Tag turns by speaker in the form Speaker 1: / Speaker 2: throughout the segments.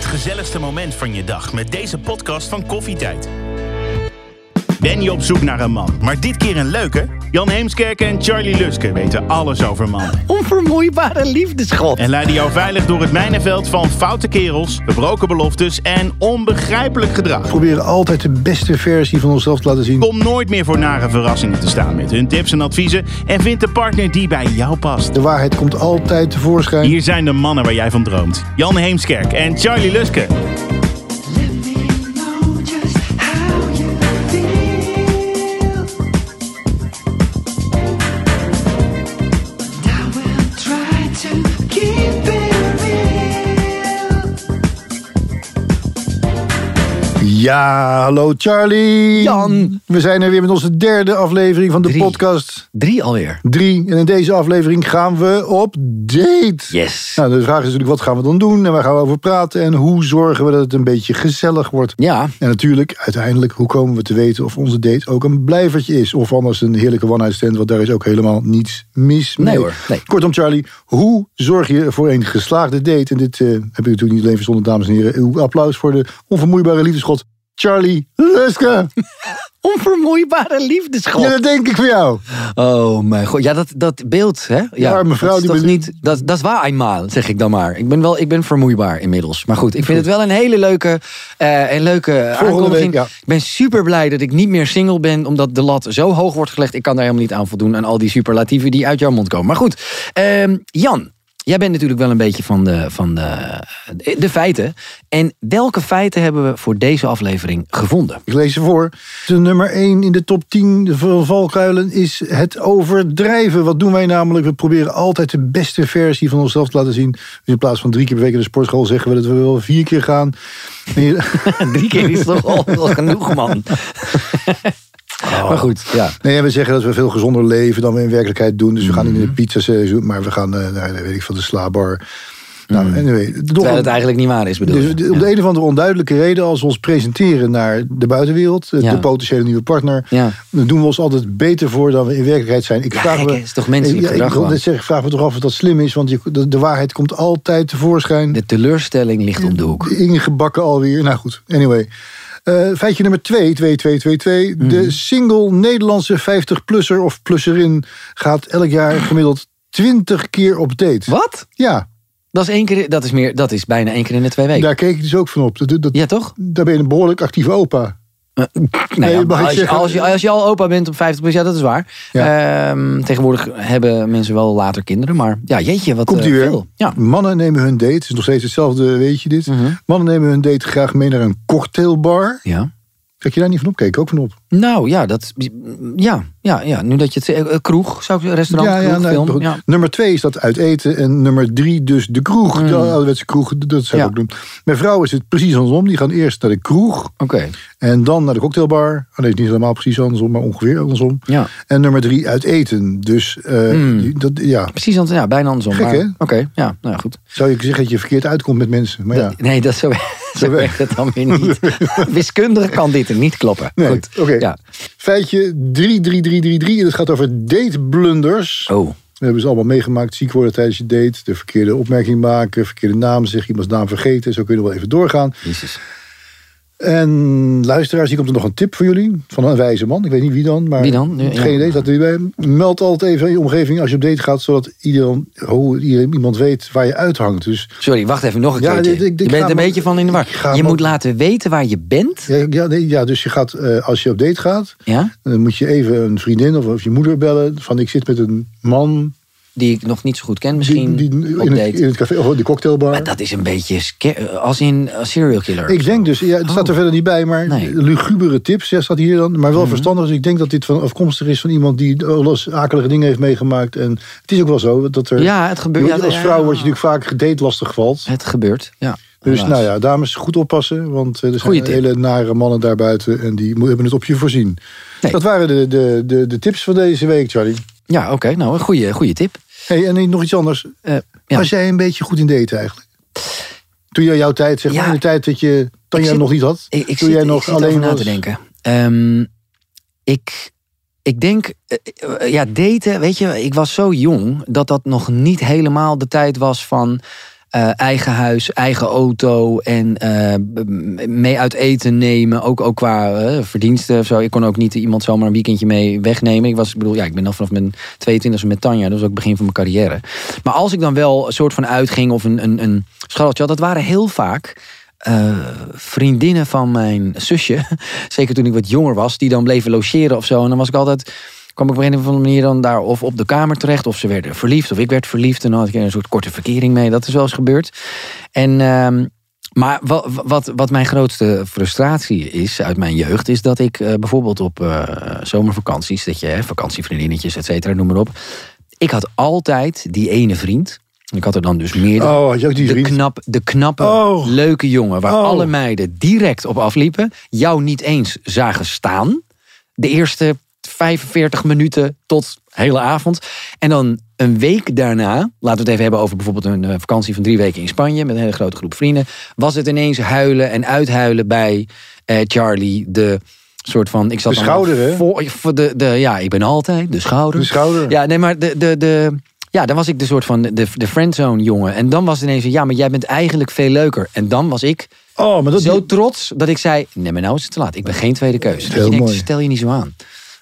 Speaker 1: gezelligste moment van je dag met deze podcast van Koffietijd. Ben je op zoek naar een man, maar dit keer een leuke? Jan Heemskerk en Charlie Luske weten alles over mannen.
Speaker 2: Onvermoeibare liefdeschot.
Speaker 1: En leiden jou veilig door het mijnenveld van foute kerels, gebroken beloftes en onbegrijpelijk gedrag.
Speaker 3: proberen altijd de beste versie van onszelf te laten zien.
Speaker 1: Kom nooit meer voor nare verrassingen te staan met hun tips en adviezen en vind de partner die bij jou past.
Speaker 3: De waarheid komt altijd tevoorschijn.
Speaker 1: Hier zijn de mannen waar jij van droomt. Jan Heemskerk en Charlie Luske.
Speaker 4: Let me know just how you feel. I will try to keep it real.
Speaker 3: Ja, hallo Charlie.
Speaker 2: Jan.
Speaker 3: We zijn er weer met onze derde aflevering van de
Speaker 2: Drie.
Speaker 3: podcast.
Speaker 2: Drie alweer.
Speaker 3: Drie. En in deze aflevering gaan we op date.
Speaker 2: Yes.
Speaker 3: Nou, de vraag is natuurlijk, wat gaan we dan doen? En waar gaan we over praten? En hoe zorgen we dat het een beetje gezellig wordt?
Speaker 2: Ja.
Speaker 3: En natuurlijk, uiteindelijk, hoe komen we te weten of onze date ook een blijvertje is? Of anders een heerlijke one-night stand, want daar is ook helemaal niets mis mee.
Speaker 2: Nee hoor, nee.
Speaker 3: Kortom, Charlie, hoe zorg je voor een geslaagde date? En dit eh, heb ik natuurlijk niet alleen verzonnen, dames en heren. Uw applaus voor de onvermoeibare liefdeschot Charlie Luske.
Speaker 2: Onvermoeibare liefdeschot.
Speaker 3: Ja, dat denk ik voor jou.
Speaker 2: Oh mijn god. Ja, dat, dat beeld, hè? Ja,
Speaker 3: arme vrouw
Speaker 2: dat is
Speaker 3: die
Speaker 2: toch
Speaker 3: belu-
Speaker 2: niet... Dat, dat is waar eenmaal, zeg ik dan maar. Ik ben wel ik ben vermoeibaar inmiddels. Maar goed, ik vind het wel een hele leuke, eh, een leuke aankondiging.
Speaker 3: week, ja.
Speaker 2: Ik ben super blij dat ik niet meer single ben, omdat de lat zo hoog wordt gelegd. Ik kan daar helemaal niet aan voldoen aan al die superlatieven die uit jouw mond komen. Maar goed, ehm, Jan, jij bent natuurlijk wel een beetje van, de, van de, de feiten. En welke feiten hebben we voor deze aflevering gevonden?
Speaker 3: Ik lees ze voor. De nummer 1 in de top 10 van valkuilen is het overdrijven. Wat doen wij namelijk? We proberen altijd de beste versie van onszelf te laten zien. Dus in plaats van drie keer per week naar de sportschool zeggen we dat we wel vier keer gaan. En je-
Speaker 2: Drie keer is toch al, al genoeg, man. Maar goed, ja.
Speaker 3: Nee, we zeggen dat we veel gezonder leven dan we in werkelijkheid doen. Dus we gaan niet in de pizza seizoen, maar we gaan eh, naar, eh, weet ik veel, de slabar. Nou, anyway, toch
Speaker 2: Terwijl het
Speaker 3: een-
Speaker 2: eigenlijk niet waar is, bedoel
Speaker 3: Dus
Speaker 2: je?
Speaker 3: om de een of andere onduidelijke reden, als we ons presenteren naar de buitenwereld, eh,
Speaker 2: Ja.
Speaker 3: de potentiële nieuwe partner,
Speaker 2: Ja.
Speaker 3: dan doen we ons altijd beter voor dan we in werkelijkheid zijn. Ik
Speaker 2: Ja,
Speaker 3: vraag
Speaker 2: gek,
Speaker 3: me,
Speaker 2: hè? Is toch menselijk
Speaker 3: ik- ja,
Speaker 2: gedrag
Speaker 3: ik, wil
Speaker 2: gewoon?
Speaker 3: net zeggen, ik vraag me toch af of dat slim is, want je, de, de waarheid komt altijd tevoorschijn.
Speaker 2: De teleurstelling ligt om de hoek.
Speaker 3: Ingebakken alweer. Nou goed, anyway. Eh, feitje nummer 2, 2222.
Speaker 2: Mhm.
Speaker 3: De single Nederlandse 50-plusser of plusserin gaat elk jaar gemiddeld 20 keer op date.
Speaker 2: Wat?
Speaker 3: Ja,
Speaker 2: Dat is, één keer, dat is, meer, dat is bijna één keer in de twee weken.
Speaker 3: daar keek ik dus ook van op. Dat, dat,
Speaker 2: Ja, toch?
Speaker 3: Daar ben je een behoorlijk actieve opa.
Speaker 2: Nou ja,
Speaker 3: mag ik
Speaker 2: als, je,
Speaker 3: zeggen-
Speaker 2: als, je, als je al opa bent op 50 plus, ja, dat is waar. Ehm, tegenwoordig hebben mensen wel later kinderen, maar ja, jeetje, wat
Speaker 3: Komt
Speaker 2: eh,
Speaker 3: ie weer.
Speaker 2: veel. Ja. Mhm.
Speaker 3: Mannen nemen hun date, het is nog steeds hetzelfde, weet je dit. Mannen nemen hun date graag mee naar een cocktailbar.
Speaker 2: ja.
Speaker 3: Kijk je daar niet van op? Kijk ik ook van op.
Speaker 2: Nou ja, dat, ja, ja, ja, nu dat je het zegt, eh, kroeg, zou ik restaurant, kroeg,
Speaker 3: nou,
Speaker 2: film.
Speaker 3: goed.
Speaker 2: ja.
Speaker 3: Nummer twee is dat uit eten. En nummer drie dus de kroeg. De ouderwetse kroeg, dat zou ik
Speaker 2: Mhm. Ja.
Speaker 3: ook doen. Mijn vrouw is het precies andersom. Die gaan eerst naar de kroeg.
Speaker 2: Oké,
Speaker 3: En dan naar de cocktailbar. Oh, nee, is niet helemaal precies andersom, maar ongeveer andersom.
Speaker 2: Ja. Mhm.
Speaker 3: En nummer drie uit eten. Dus eh, die- dat, ja.
Speaker 2: precies, anders- ja, bijna andersom.
Speaker 3: Gek,
Speaker 2: maar-
Speaker 3: hè?
Speaker 2: Oké, ja, nou ja, goed.
Speaker 3: zou ik zeggen dat je verkeerd uitkomt met mensen. Maar ja.
Speaker 2: Nee, dat zo, zo werkt het dan weer niet. Wiskundig kan dit niet kloppen.
Speaker 3: Nee,
Speaker 2: Goed.
Speaker 3: oké.
Speaker 2: Ja.
Speaker 3: Feitje 33333. En het gaat over dateblunders.
Speaker 2: Oh,
Speaker 3: We hebben ze allemaal meegemaakt. Ziek worden tijdens je date. De verkeerde opmerking maken. Verkeerde naam zeggen. Iemands naam vergeten. Zo kun je nog wel even doorgaan.
Speaker 2: jezus.
Speaker 3: En luisteraars, hier komt er nog een tip voor jullie. Van een wijze man. Ik weet niet wie dan. Maar
Speaker 2: Wie dan? Ja, ja.
Speaker 3: Geen idee. Dat er bij. Meld altijd even in je omgeving als je op date gaat. Zodat iedereen, oh, iedereen- iemand weet waar je uithangt. Dus
Speaker 2: Sorry, wacht even, nog een
Speaker 3: Ja,
Speaker 2: keertje.
Speaker 3: dit- ik- ik
Speaker 2: je
Speaker 3: ga
Speaker 2: bent een
Speaker 3: maar-
Speaker 2: beetje van in de war.
Speaker 3: ik ga
Speaker 2: Je
Speaker 3: maar-
Speaker 2: moet laten weten waar je bent.
Speaker 3: ja, ja, nee, ja, dus je gaat, eh, als je op date gaat.
Speaker 2: Ja?
Speaker 3: Dan moet je even een vriendin of, of je moeder bellen. Van ik zit met een man.
Speaker 2: Die ik nog niet zo goed ken
Speaker 3: Die,
Speaker 2: misschien.
Speaker 3: die
Speaker 2: op
Speaker 3: in, het,
Speaker 2: date.
Speaker 3: in het café, of de cocktailbar.
Speaker 2: Maar dat is een beetje sca- als in eh, serial killer.
Speaker 3: Ik denk dus, ja, het staat er verder niet bij, maar
Speaker 2: Oh. Nee. Mhm.
Speaker 3: lugubere tips ja, staat hier dan. Maar wel verstandig, dus ik denk dat dit van afkomstig is van iemand die alles akelige dingen heeft meegemaakt. En het is ook wel zo dat er.
Speaker 2: Ja, het gebeurt-
Speaker 3: Je wordt-
Speaker 2: ja,
Speaker 3: als
Speaker 2: ja,
Speaker 3: vrouw
Speaker 2: ja.
Speaker 3: word je natuurlijk vaak gedate lastig valt.
Speaker 2: Het gebeurt, ja.
Speaker 3: Dus
Speaker 2: Helaas.
Speaker 3: nou ja, dames, goed oppassen, want eh, er zijn
Speaker 2: Goeie tip.
Speaker 3: hele nare mannen daarbuiten en die mo- hebben het op je voorzien.
Speaker 2: Nee.
Speaker 3: Dat waren de, de, de, de tips van deze week, Charlie.
Speaker 2: Ja, oké, nou, een goede, goede tip.
Speaker 3: Hey, en nog iets anders.
Speaker 2: Eh, ja.
Speaker 3: Was jij een beetje goed in daten eigenlijk? Toen jij jouw tijd, zeg
Speaker 2: Ja.
Speaker 3: maar, in de tijd dat je Tanja
Speaker 2: zit-
Speaker 3: nog niet had.
Speaker 2: Ik, ik
Speaker 3: toen
Speaker 2: zit,
Speaker 3: jij
Speaker 2: ik
Speaker 3: nog
Speaker 2: zit
Speaker 3: alleen
Speaker 2: over na
Speaker 3: was.
Speaker 2: te denken. Ehm, ik, ik denk, eh, eh, ja, daten, weet je, ik was zo jong dat dat nog niet helemaal de tijd was van eh, eigen huis, eigen auto en eh, m- mee uit eten nemen. Ook, ook qua eh, verdiensten of zo. Ik kon ook niet iemand zomaar een weekendje mee wegnemen. Ik, was, ik bedoel, ja, ik ben al vanaf mijn 22e met Tanja. Dat was ook het begin van mijn carrière. Maar als ik dan wel een soort van uitging of een, een, een scharreltje had, dat waren heel vaak eh, vriendinnen van mijn zusje, zeker toen ik wat jonger was, die dan bleven logeren of zo. En dan was ik altijd, kwam ik op een of andere manier dan daar of op de kamer terecht, of ze werden verliefd, of ik werd verliefd. En dan had ik een soort korte verkering mee. Dat is wel eens gebeurd. En, ehm, maar wat, wat, wat mijn grootste frustratie is uit mijn jeugd, is dat ik eh, bijvoorbeeld op eh, zomervakanties, dat je hè, vakantievriendinnetjes, et cetera, noem maar op. Ik had altijd die ene vriend. Ik had er dan dus meerdere.
Speaker 3: Oh, had je ook die
Speaker 2: de,
Speaker 3: vriend?
Speaker 2: knap, de knappe,
Speaker 3: Oh.
Speaker 2: leuke jongen waar
Speaker 3: Oh.
Speaker 2: alle meiden direct op afliepen, jou niet eens zagen staan. De eerste 45 minuten tot hele avond. En dan een week daarna, laten we het even hebben over bijvoorbeeld een eh, vakantie van drie weken in Spanje met een hele grote groep vrienden, was het ineens huilen en uithuilen bij eh, Charlie, de soort van, ik zat
Speaker 3: De
Speaker 2: dan
Speaker 3: schouder, hè?
Speaker 2: voor, voor de, de, ja, ik ben altijd de schouder.
Speaker 3: De schouder.
Speaker 2: Ja, nee, maar de, de, de, ja, dan was ik de soort van de, de friendzone jongen. En dan was het ineens, ja, maar jij bent eigenlijk veel leuker. En dan was ik
Speaker 3: Oh, maar dat...
Speaker 2: zo trots dat ik zei, nee, maar nou is het te laat. Ik ben geen tweede keus. Dat
Speaker 3: Heel
Speaker 2: je denkt,
Speaker 3: mooi.
Speaker 2: stel je niet zo aan.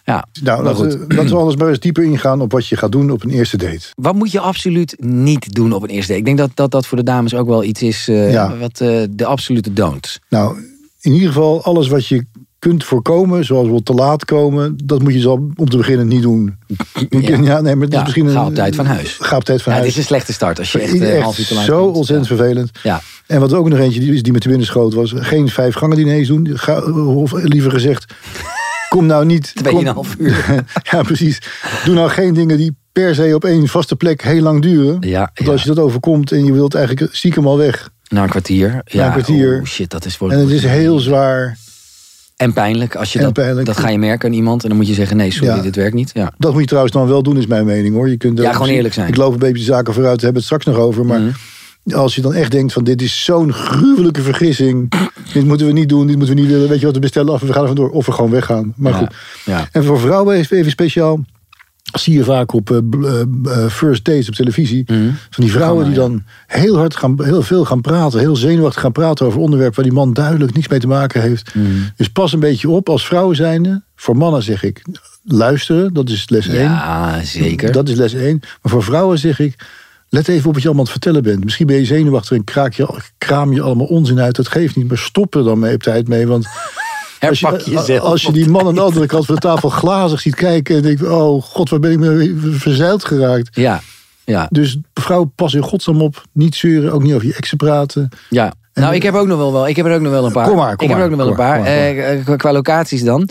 Speaker 2: Ja,
Speaker 3: nou,
Speaker 2: maar goed.
Speaker 3: laten, we- laten we alles maar eens dieper ingaan op wat je gaat doen op een eerste date.
Speaker 2: Wat moet je absoluut niet doen op een eerste date? Ik denk dat dat, dat voor de dames ook wel iets is eh,
Speaker 3: Ja.
Speaker 2: wat eh, de absolute don't.
Speaker 3: Nou, in ieder geval alles wat je kunt voorkomen, zoals bijvoorbeeld te laat komen, dat moet je dus zo om te beginnen niet doen. Ja, nee, maar het is
Speaker 2: Ja,
Speaker 3: misschien een,
Speaker 2: ga op tijd van huis.
Speaker 3: Ga op tijd van
Speaker 2: Ja, het
Speaker 3: huis.
Speaker 2: is een slechte start als je echt,
Speaker 3: Ieder-
Speaker 2: eh, een
Speaker 3: echt
Speaker 2: half uur te laat
Speaker 3: zo
Speaker 2: komt.
Speaker 3: ontzettend
Speaker 2: Ja.
Speaker 3: vervelend.
Speaker 2: Ja.
Speaker 3: En wat ook nog eentje die, is die met de binnen schoot was, geen vijf gangen diners doen. Ga, of liever gezegd, kom nou niet... kom-
Speaker 2: Tweeënhalf uur.
Speaker 3: ja, precies. Doe nou geen dingen die per se op één vaste plek heel lang duren.
Speaker 2: Ja,
Speaker 3: Want
Speaker 2: ja.
Speaker 3: als je dat overkomt en je wilt eigenlijk stiekem al weg.
Speaker 2: Na een kwartier. Ja,
Speaker 3: een kwartier.
Speaker 2: Oh, shit, dat is voor
Speaker 3: En het is heel zwaar.
Speaker 2: En pijnlijk. Als je
Speaker 3: En
Speaker 2: dat,
Speaker 3: pijnlijk.
Speaker 2: dat ga je merken aan iemand. En dan moet je zeggen, nee, sorry,
Speaker 3: Ja.
Speaker 2: dit werkt niet. Ja.
Speaker 3: Dat moet je trouwens dan wel doen, is mijn mening hoor. Je kunt
Speaker 2: Ja,
Speaker 3: ook-
Speaker 2: gewoon eerlijk zijn. Mhm.
Speaker 3: Ik loop een beetje de zaken vooruit, we hebben het straks nog over. Maar als je dan echt denkt van dit is zo'n gruwelijke vergissing. dit moeten we niet doen, dit moeten we niet willen. Weet je wat, we bestellen af en we gaan er vandoor. Of we gewoon weggaan. Maar
Speaker 2: Ja,
Speaker 3: goed.
Speaker 2: ja.
Speaker 3: En voor vrouwen is het even speciaal. Zie je vaak op eh, bl- eh, eh, first dates op televisie.
Speaker 2: Mhm.
Speaker 3: Van die vrouwen die dan heel hard gaan, heel veel gaan praten. Heel zenuwachtig gaan praten over onderwerpen waar die man duidelijk niks mee te maken heeft.
Speaker 2: Mhm.
Speaker 3: Dus pas een beetje op als vrouwen zijnde. Voor mannen zeg ik luisteren, dat is les 1.
Speaker 2: Ja, zeker.
Speaker 3: Dat is les 1. Maar voor vrouwen zeg ik, let even op wat je allemaal aan het vertellen bent. Misschien ben je zenuwachtig en kraak je, kraam je allemaal onzin uit. Dat geeft niet, maar stop er dan mee op tijd mee. Want als
Speaker 2: Herpak
Speaker 3: je,
Speaker 2: jezelf.
Speaker 3: als je die man aan de andere kant van de tafel glazig ziet kijken... en denkt, oh god, waar ben ik me verzeild geraakt.
Speaker 2: Ja, ja,
Speaker 3: Dus mevrouw, pas in godsnaam op. Niet zeuren, ook niet over je exen praten.
Speaker 2: ja. Nou, ik heb, ook nog wel, wel, ik heb er ook nog wel een paar.
Speaker 3: Kom maar, kom
Speaker 2: ik heb er
Speaker 3: maar,
Speaker 2: ook nog wel een
Speaker 3: kom maar,
Speaker 2: paar.
Speaker 3: kom maar,
Speaker 2: Eh, qua- qua locaties dan.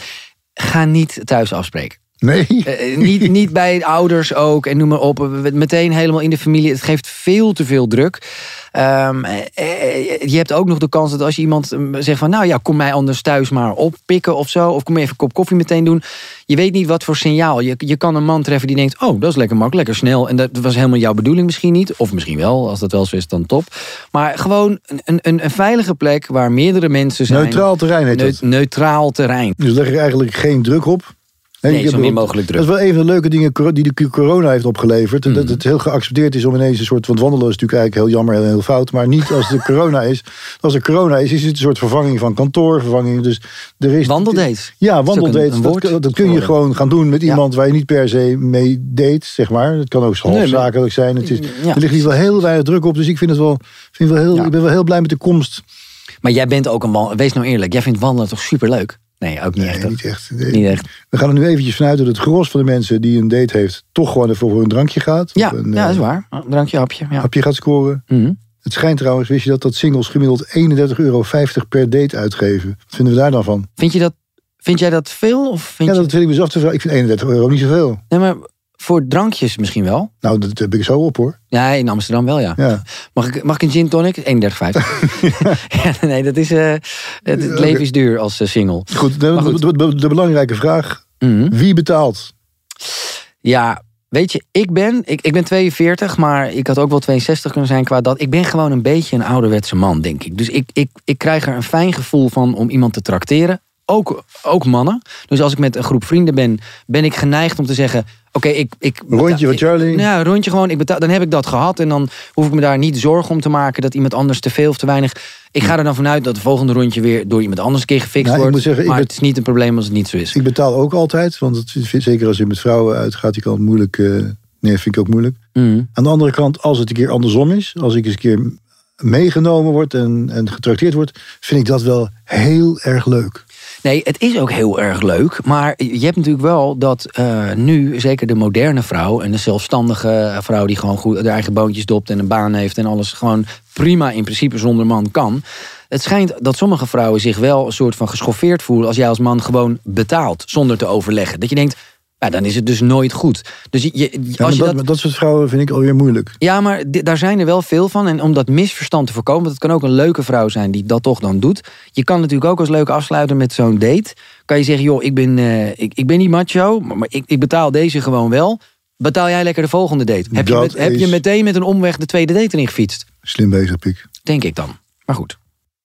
Speaker 2: Ga niet thuis afspreken.
Speaker 3: Nee.
Speaker 2: Eh, eh, niet, niet bij ouders ook en noem maar op. Meteen helemaal in de familie. Het geeft veel te veel druk. Ehm, eh, eh, je hebt ook nog de kans dat als je iemand eh, zegt van... nou ja, kom mij anders thuis maar oppikken of zo. Of kom even een kop koffie meteen doen. Je weet niet wat voor signaal. Je, je kan een man treffen die denkt... oh, dat is lekker makkelijk, lekker snel. En dat was helemaal jouw bedoeling misschien niet. Of misschien wel, als dat wel zo is, dan top. Maar gewoon een, een, een veilige plek waar meerdere mensen zijn.
Speaker 3: Neutraal terrein heet
Speaker 2: Neu-
Speaker 3: dat.
Speaker 2: neutraal terrein.
Speaker 3: Dus leg er eigenlijk geen druk op. Hè,
Speaker 2: Nee,
Speaker 3: ik heb
Speaker 2: zo min
Speaker 3: wel-
Speaker 2: mogelijk druk. Mhm.
Speaker 3: Dat is wel een van de leuke dingen cor- die de corona heeft opgeleverd. En Dat het heel geaccepteerd is om ineens een soort... Want wandelen is natuurlijk eigenlijk heel jammer en heel fout. Maar niet als de corona is. Als er corona is, is het een soort vervanging van kantoor. Vervanging, dus er is,
Speaker 2: Wandeldates.
Speaker 3: Ja,
Speaker 2: Dat is ook een-
Speaker 3: wandeldates.
Speaker 2: een
Speaker 3: Dat,
Speaker 2: woord
Speaker 3: kun- dat kun je
Speaker 2: geworden.
Speaker 3: gewoon gaan doen met
Speaker 2: Ja.
Speaker 3: iemand waar je niet per se mee date, zeg maar. Het kan ook
Speaker 2: maar-
Speaker 3: halfzakelijk zijn. Het is,
Speaker 2: Ja.
Speaker 3: Er ligt hier wel heel weinig druk op. Dus ik, vind het wel, vind wel heel,
Speaker 2: Ja.
Speaker 3: ik ben wel heel blij met de komst.
Speaker 2: Maar jij bent ook een wandelaar. Wees nou eerlijk, jij vindt wandelen toch superleuk? Nee, ook niet echt.
Speaker 3: Nee,
Speaker 2: toch?
Speaker 3: niet echt. Nee.
Speaker 2: Niet echt.
Speaker 3: We gaan er nu eventjes vanuit dat het gros van de mensen die een date heeft... toch gewoon ervoor voor een drankje gaat.
Speaker 2: Ja,
Speaker 3: Of een,
Speaker 2: ja, dat is
Speaker 3: eh,
Speaker 2: waar. Een Drankje, hapje. Ja.
Speaker 3: hapje gaat scoren.
Speaker 2: Mhm.
Speaker 3: Het schijnt trouwens, wist je dat, dat singles gemiddeld 31,50 euro per date uitgeven. Wat vinden we daar dan van?
Speaker 2: Vind, je dat, vind jij dat veel? Of vind
Speaker 3: Ja,
Speaker 2: je,
Speaker 3: dat wil ik me dus af te vragen. Ik vind 31 euro niet zoveel.
Speaker 2: Nee, maar voor drankjes misschien wel.
Speaker 3: Nou, dat heb ik zo op hoor.
Speaker 2: Ja, in Amsterdam wel, ja.
Speaker 3: Ja.
Speaker 2: Mag, ik, mag ik een gin tonic? 31,50. ja, nee, dat is... eh, het, het leven is duur als eh, single.
Speaker 3: Goed, de,
Speaker 2: Maar goed.
Speaker 3: de- de- de belangrijke vraag.
Speaker 2: Mhm.
Speaker 3: Wie betaalt?
Speaker 2: Ja, weet je, ik ben, ik, ik ben 42, maar ik had ook wel 62 kunnen zijn qua dat. Ik ben gewoon een beetje een ouderwetse man, denk ik. Dus ik, ik, ik krijg er een fijn gevoel van om iemand te trakteren. ook, ook mannen. Dus als ik met een groep vrienden ben, ben ik geneigd om te zeggen... Oké, ik, ik...
Speaker 3: Rondje van
Speaker 2: ik-
Speaker 3: Charlie.
Speaker 2: Ja, rondje gewoon. Ik betaal, dan heb ik dat gehad. En dan hoef ik me daar niet zorgen om te maken dat iemand anders te veel of te weinig... Ik ga er dan vanuit dat het volgende rondje weer door iemand anders een keer gefixt
Speaker 3: Nou, ik
Speaker 2: wordt.
Speaker 3: moet zeggen, ik
Speaker 2: maar
Speaker 3: ben-
Speaker 2: het is niet een probleem als het niet zo is.
Speaker 3: Ik betaal ook altijd, want het vind- zeker als je met vrouwen uitgaat, die kan het moeilijk. eh, nee, vind ik ook moeilijk.
Speaker 2: Mm.
Speaker 3: Aan de andere kant, als het een keer andersom is, als ik eens een keer meegenomen word en, en getrakteerd word, vind ik dat wel heel erg leuk.
Speaker 2: Nee, het is ook heel erg leuk. Maar je hebt natuurlijk wel dat eh, nu, zeker de moderne vrouw en de zelfstandige vrouw die gewoon goed haar eigen boontjes dopt en een baan heeft en alles gewoon prima in principe zonder man kan. Het schijnt dat sommige vrouwen zich wel een soort van geschoffeerd voelen als jij als man gewoon betaalt zonder te overleggen. Dat je denkt, nou, dan is het dus nooit goed. Dus je, je-
Speaker 3: Ja,
Speaker 2: als
Speaker 3: maar
Speaker 2: je
Speaker 3: dat,
Speaker 2: dat,
Speaker 3: dat soort vrouwen vind ik alweer moeilijk.
Speaker 2: ja, maar di- daar zijn er wel veel van. En om dat misverstand te voorkomen, want het kan ook een leuke vrouw zijn die dat toch dan doet. Je kan natuurlijk ook als leuk afsluiten met zo'n date. Kan je zeggen, joh, ik ben, eh, ik, ik ben niet macho, maar, maar ik, ik betaal deze gewoon wel. Betaal jij lekker de volgende date? Heb, je,
Speaker 3: Dat
Speaker 2: met- heb je
Speaker 3: is-
Speaker 2: meteen met een omweg de tweede date erin gefietst?
Speaker 3: Slim bezig, Pik.
Speaker 2: Denk ik dan. Maar goed.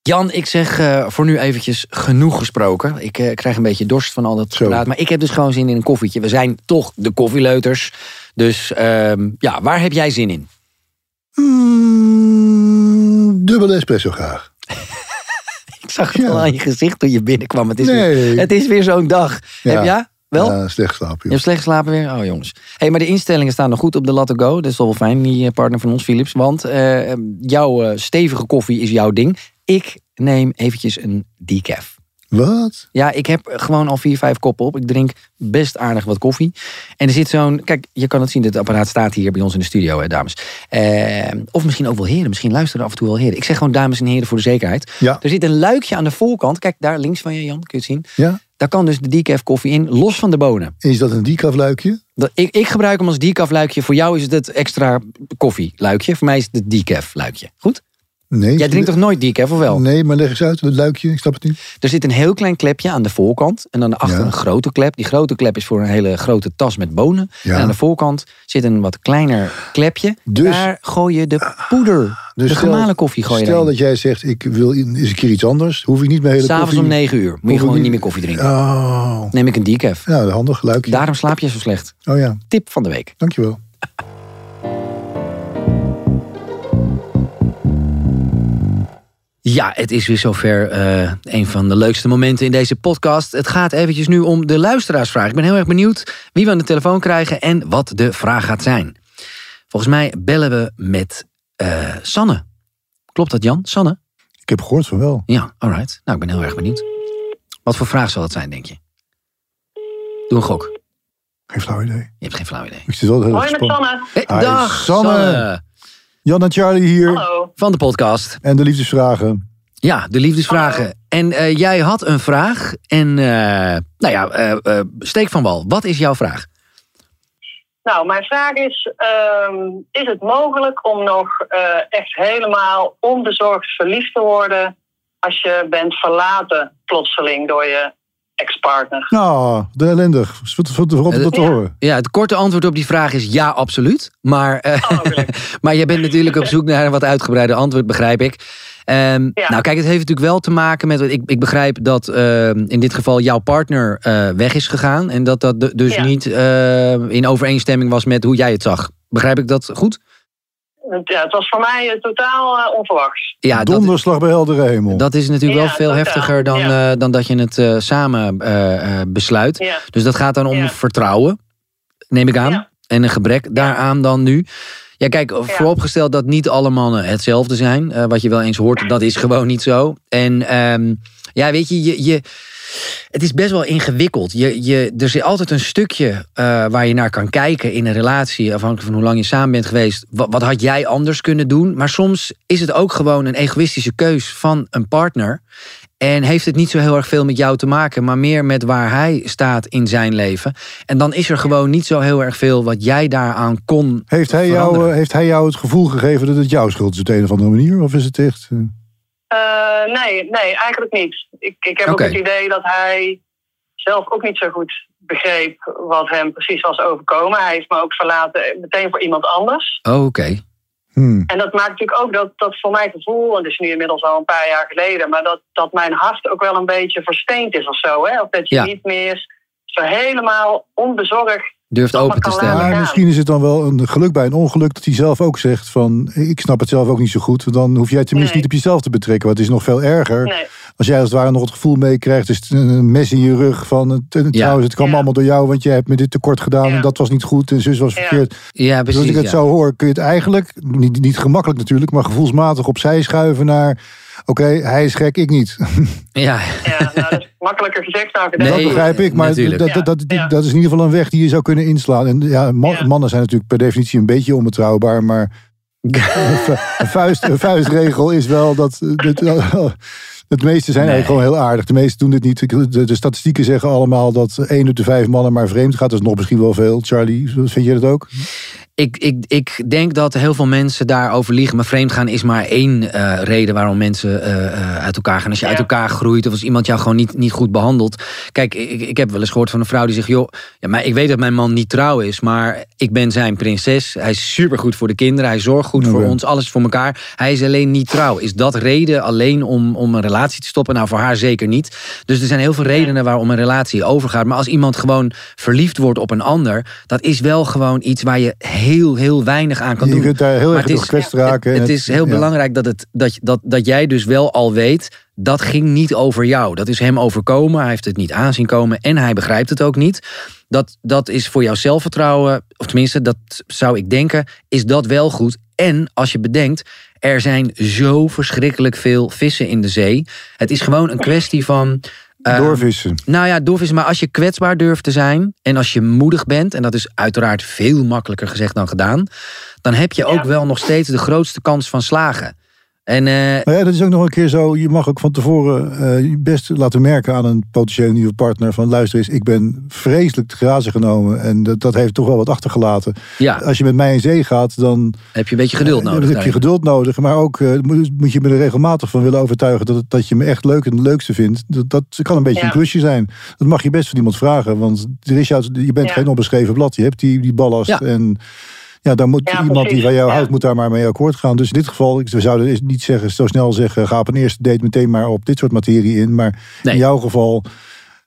Speaker 2: Jan, ik zeg eh, voor nu eventjes genoeg gesproken. Ik eh, krijg een beetje dorst van al dat
Speaker 3: Zo.
Speaker 2: praat. Maar ik heb dus gewoon zin in een koffietje. We zijn toch de koffieleuters. Dus ehm, ja, waar heb jij zin in?
Speaker 3: Mm, dubbele espresso graag.
Speaker 2: Ik zag het
Speaker 3: Ja.
Speaker 2: al aan je gezicht toen je binnenkwam. Het is,
Speaker 3: Nee.
Speaker 2: weer, het is weer zo'n dag.
Speaker 3: Ja.
Speaker 2: Heb ja? Wel?
Speaker 3: Ja, slecht slaap,
Speaker 2: Je
Speaker 3: joh.
Speaker 2: hebt slecht geslapen weer? Oh jongens. hey, maar de instellingen staan nog goed op de Latte Go. Dat is wel wel fijn, die eh, partner van ons, Philips. Want eh, jouw eh, stevige koffie is jouw ding. Ik neem eventjes een decaf.
Speaker 3: Wat?
Speaker 2: Ja, ik heb gewoon al vier, vijf koppen op. Ik drink best aardig wat koffie. En er zit zo'n... Kijk, je kan het zien. Het apparaat staat hier bij ons in de studio, hè, dames. Eh, of misschien ook wel heren. Misschien luisteren af en toe wel heren. Ik zeg gewoon dames en heren voor de zekerheid.
Speaker 3: Ja.
Speaker 2: Er zit een luikje aan de voorkant. Kijk, daar links van je, Jan. Kun je het zien?
Speaker 3: Ja?
Speaker 2: Daar kan dus de decaf koffie in, los van de bonen.
Speaker 3: Is dat een decaf luikje?
Speaker 2: Dat, ik, ik gebruik hem als decaf luikje. Voor jou is het het extra koffieluikje. Voor mij is het het decaf luikje. Goed?
Speaker 3: Nee.
Speaker 2: Jij drinkt toch nooit decaf, of wel?
Speaker 3: Nee, maar leg eens uit, het luikje, ik snap het niet.
Speaker 2: Er zit een heel klein klepje aan de voorkant. En aan de achter
Speaker 3: Ja.
Speaker 2: een grote klep. Die grote klep is voor een hele grote tas met bonen.
Speaker 3: Ja.
Speaker 2: En aan de voorkant zit een wat kleiner klepje.
Speaker 3: Dus-
Speaker 2: Daar gooi je de poeder.
Speaker 3: Dus
Speaker 2: de
Speaker 3: stel-
Speaker 2: gemalen koffie gooi je
Speaker 3: Stel
Speaker 2: erin.
Speaker 3: dat jij zegt, ik wil in- eens een keer iets anders. Hoef ik niet mijn hele
Speaker 2: S'avonds
Speaker 3: koffie...
Speaker 2: om 9 uur moet je
Speaker 3: hoef ik
Speaker 2: gewoon niet meer koffie drinken.
Speaker 3: Oh.
Speaker 2: Neem ik een decaf.
Speaker 3: Ja, handig, luikje.
Speaker 2: Daarom slaap je zo slecht.
Speaker 3: Oh ja,
Speaker 2: Tip van de week.
Speaker 3: dankjewel.
Speaker 2: Ja, het is weer zover eh, een van de leukste momenten in deze podcast. Het gaat eventjes nu om de luisteraarsvraag. Ik ben heel erg benieuwd wie we aan de telefoon krijgen en wat de vraag gaat zijn. Volgens mij bellen we met eh, Sanne. Klopt dat, Jan? Sanne?
Speaker 3: Ik heb gehoord van wel.
Speaker 2: Ja, alright. Nou, ik ben heel erg benieuwd. Wat voor vraag zal het zijn, denk je? Doe een gok.
Speaker 3: Geen flauw idee.
Speaker 2: Je hebt geen flauw idee.
Speaker 3: Ik zit wel heel erg
Speaker 5: Hoi met
Speaker 3: gespannen.
Speaker 5: Sanne.
Speaker 2: Hey,
Speaker 3: Hi,
Speaker 2: dag,
Speaker 3: Sanne.
Speaker 2: Sanne.
Speaker 3: Jan en Charlie hier.
Speaker 5: Hallo.
Speaker 2: Van de podcast.
Speaker 3: En de liefdesvragen.
Speaker 2: Ja, de liefdesvragen. En eh, jij had een vraag. En eh, nou ja, eh, eh, steek van wal. Wat is jouw vraag?
Speaker 5: Nou, mijn vraag is: ehm, is het mogelijk om nog eh, echt helemaal onbezorgd verliefd te worden als je bent verlaten plotseling door je ex-partner?
Speaker 3: Nou, de ellendig. Wat wat- wat- wat- dat te
Speaker 5: Ja.
Speaker 3: horen.
Speaker 2: Ja, het korte antwoord op die vraag is ja, absoluut. Maar, eh,
Speaker 5: Oh, gelukkig.
Speaker 2: maar je bent natuurlijk op zoek naar een wat uitgebreider antwoord, begrijp ik. Ehm,
Speaker 5: Ja.
Speaker 2: Nou, kijk, het heeft natuurlijk wel te maken met. Ik, ik begrijp dat ehm, in dit geval jouw partner eh, weg is gegaan. En dat dat du- dus
Speaker 5: Ja.
Speaker 2: niet eh, in overeenstemming was met hoe jij het zag. Begrijp ik dat goed?
Speaker 5: Want, ja, het was voor mij eh, totaal eh, onverwachts.
Speaker 2: Ja, dat,
Speaker 3: Donderslag bij heldere hemel.
Speaker 2: dat is natuurlijk
Speaker 5: Ja,
Speaker 2: wel veel
Speaker 5: totaal,
Speaker 2: heftiger dan,
Speaker 5: ja.
Speaker 2: eh, dan dat je het eh, samen eh, eh, besluit.
Speaker 5: Ja.
Speaker 2: Dus dat gaat dan om
Speaker 5: Ja.
Speaker 2: vertrouwen, neem ik aan.
Speaker 5: Ja.
Speaker 2: En een gebrek daaraan dan nu. Ja, kijk, vooropgesteld dat niet alle mannen hetzelfde zijn. eh, wat je wel eens hoort, dat is gewoon niet zo. En ehm, ja, weet je, je, je, het is best wel ingewikkeld. Je, je, er zit altijd een stukje eh, waar je naar kan kijken in een relatie. Afhankelijk van hoe lang je samen bent geweest. Wat, wat had jij anders kunnen doen? Maar soms is het ook gewoon een egoïstische keus van een partner. En heeft het niet zo heel erg veel met jou te maken, maar meer met waar hij staat in zijn leven. En dan is er gewoon niet zo heel erg veel wat jij daaraan kon.
Speaker 3: heeft, hij jou,
Speaker 2: veranderen.
Speaker 3: eh, heeft hij jou het gevoel gegeven dat het jouw schuld is op de een of andere manier? Of is het echt... eh,
Speaker 5: Eh, nee, nee, eigenlijk niet. Ik, ik heb
Speaker 2: Oké.
Speaker 5: ook het idee dat hij zelf ook niet zo goed begreep wat hem precies was overkomen. Hij heeft me ook verlaten eh, meteen voor iemand anders.
Speaker 2: Oh, Oké.
Speaker 3: Hmm.
Speaker 5: En dat maakt natuurlijk ook dat, dat voor mijn gevoel, en dat is nu inmiddels al een paar jaar geleden, maar dat, dat mijn hart ook wel een beetje versteend is of zo. Hè? Of dat je
Speaker 2: Ja.
Speaker 5: niet meer zo helemaal onbezorgd.
Speaker 2: Durft open te
Speaker 5: Ja,
Speaker 2: stellen.
Speaker 5: ja.
Speaker 3: Maar misschien is het dan wel een geluk bij een ongeluk dat hij zelf ook zegt van ik snap het zelf ook niet zo goed. Dan hoef jij tenminste
Speaker 5: Nee.
Speaker 3: niet op jezelf te betrekken. Want het is nog veel erger
Speaker 5: Nee,
Speaker 3: als jij als het ware nog het gevoel meekrijgt. Dus een mes in je rug van het- het-
Speaker 2: Ja.
Speaker 3: trouwens het kwam
Speaker 5: Ja.
Speaker 3: allemaal door jou. Want jij hebt me dit tekort gedaan
Speaker 5: Ja.
Speaker 3: en dat was niet goed en zus was
Speaker 5: Ja.
Speaker 3: verkeerd.
Speaker 2: Ja,
Speaker 3: Dus
Speaker 2: precies.
Speaker 3: als ik het
Speaker 2: ja.
Speaker 3: zo hoor, kun je het eigenlijk, niet, niet gemakkelijk natuurlijk, maar gevoelsmatig opzij schuiven naar. Oké, hij is gek, ik niet.
Speaker 2: Ja.
Speaker 5: ja, nou, dat is makkelijker gezegd dan gedaan.
Speaker 2: Nee,
Speaker 3: dat begrijp ik, maar
Speaker 2: natuurlijk.
Speaker 3: dat, dat, dat,
Speaker 5: Ja, ja.
Speaker 3: dat is in ieder geval een weg die je zou kunnen inslaan. En ja, ma-
Speaker 5: Ja.
Speaker 3: mannen zijn natuurlijk per definitie een beetje onbetrouwbaar, maar een, vu- een vuist, een vuistregel is wel dat. dat het meeste zijn
Speaker 2: Nee.
Speaker 3: eigenlijk gewoon heel aardig. De meesten doen dit niet. Ik- De, de statistieken zeggen allemaal dat één op de vijf mannen maar vreemd gaat. Dat is nog misschien wel veel. Charlie, vind je dat ook?
Speaker 2: Ik, ik, ik denk dat heel veel mensen daarover liegen. Maar vreemdgaan is maar één eh, reden waarom mensen eh, eh, uit elkaar gaan. Als je
Speaker 5: Ja.
Speaker 2: uit elkaar groeit of als iemand jou gewoon niet, niet goed behandelt. Kijk, ik, ik heb wel eens gehoord van een vrouw die zegt... joh, ja, maar ik weet dat mijn man niet trouw is, maar ik ben zijn prinses. Hij is supergoed voor de kinderen, hij zorgt goed voor
Speaker 3: Oké.
Speaker 2: ons, alles is voor elkaar. Hij is alleen niet trouw. Is dat reden alleen om, om een relatie te stoppen? Nou, voor haar zeker niet. Dus er zijn heel veel redenen waarom een relatie overgaat. Maar als iemand gewoon verliefd wordt op een ander... dat is wel gewoon iets waar je heel, heel weinig aan kan
Speaker 3: Je
Speaker 2: doen.
Speaker 3: kunt daar heel
Speaker 2: Maar
Speaker 3: erg
Speaker 2: het
Speaker 3: door
Speaker 2: is-
Speaker 3: gekwetst raken.
Speaker 2: Het,
Speaker 3: En
Speaker 2: is heel
Speaker 3: ja.
Speaker 2: belangrijk dat, het, dat, dat, dat jij dus wel al weet. Dat ging niet over jou. Dat is hem overkomen. Hij heeft het niet aanzien komen. En hij begrijpt het ook niet. Dat, dat is voor jouw zelfvertrouwen. Of tenminste, dat zou ik denken. Is dat wel goed. En als je bedenkt. Er zijn zo verschrikkelijk veel vissen in de zee. Het is gewoon een kwestie van. eh,
Speaker 3: Doorvissen.
Speaker 2: nou ja, dof is, maar als je kwetsbaar durft te zijn en als je moedig bent, en dat is uiteraard veel makkelijker gezegd dan gedaan, dan heb je ook
Speaker 5: Ja.
Speaker 2: wel nog steeds de grootste kans van slagen. En eh,
Speaker 3: Nou ja, dat is ook nog een keer zo. Je mag ook van tevoren eh, je best laten merken aan een potentiële nieuwe partner. Van luister eens, ik ben vreselijk te grazen genomen. En dat, dat heeft toch wel wat achtergelaten.
Speaker 2: ja,
Speaker 3: Als je met mij in zee gaat, dan
Speaker 2: heb je een beetje geduld
Speaker 3: eh,
Speaker 2: nodig.
Speaker 3: heb je
Speaker 2: daarin.
Speaker 3: geduld nodig. Maar ook eh, moet moet je me er regelmatig van willen overtuigen dat, het- dat je me echt leuk en het leukste vindt. Dat, dat kan een beetje
Speaker 5: Ja.
Speaker 3: een klusje zijn. Dat mag je best van iemand vragen. Want er is jou, je bent
Speaker 5: Ja.
Speaker 3: geen onbeschreven blad. Je hebt die, die ballast.
Speaker 2: Ja.
Speaker 3: En ja, dan moet
Speaker 5: Ja,
Speaker 3: iemand die
Speaker 5: precies.
Speaker 3: van jou
Speaker 5: Ja.
Speaker 3: houdt, moet daar maar mee akkoord gaan. Dus in dit geval, ik- we zouden is- niet zeggen, zo snel zeggen, ga op een eerste date meteen maar op dit soort materie in. Maar
Speaker 2: Nee.
Speaker 3: in jouw geval,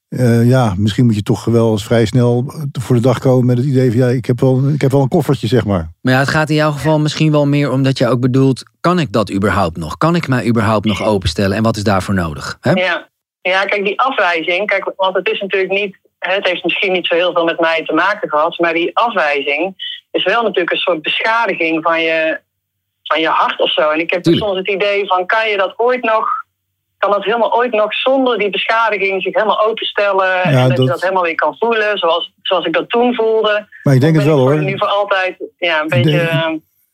Speaker 3: eh, ja, misschien moet je toch wel eens vrij snel voor de dag komen met het idee van, ja, ik heb wel, ik heb wel een koffertje, zeg maar.
Speaker 2: Maar ja, het gaat in jouw geval misschien wel meer omdat je ook bedoelt, kan ik dat überhaupt nog? Kan ik mij überhaupt nog openstellen en wat is daarvoor nodig? Hè?
Speaker 5: Ja. ja, kijk, die afwijzing, kijk, want het is natuurlijk niet, hè, het heeft misschien niet zo heel veel met mij te maken gehad, maar die afwijzing is wel natuurlijk een soort beschadiging van je, van je hart of zo. En ik heb
Speaker 2: Tuurlijk.
Speaker 5: soms het idee van, kan je dat ooit nog, kan dat helemaal ooit nog zonder die beschadiging zich helemaal openstellen en
Speaker 3: Ja,
Speaker 5: dat, je
Speaker 3: dat-
Speaker 5: dat helemaal weer kan voelen, zoals, zoals ik dat toen voelde.
Speaker 3: Maar ik denk
Speaker 5: Dan
Speaker 3: het wel
Speaker 5: ben ik
Speaker 3: hoor.
Speaker 5: gewoon Nu voor altijd, ja, een
Speaker 3: Ik
Speaker 5: beetje...
Speaker 3: denk-
Speaker 5: ehm,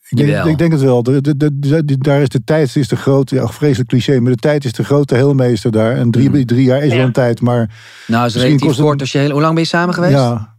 Speaker 3: Ik denk,
Speaker 2: Jawel.
Speaker 3: ik denk het wel. De- de- de- de- de- daar is de tijd is de grote, ja, vreselijk cliché, maar de tijd is de grote heelmeester daar. En drie,
Speaker 2: Mhm.
Speaker 3: drie jaar is
Speaker 5: Ja.
Speaker 3: wel een tijd, maar
Speaker 2: Nou, is
Speaker 3: Misschien
Speaker 2: relatief
Speaker 3: kost het-
Speaker 2: kort. Als je heel, hoe lang ben je samen geweest?
Speaker 3: ja.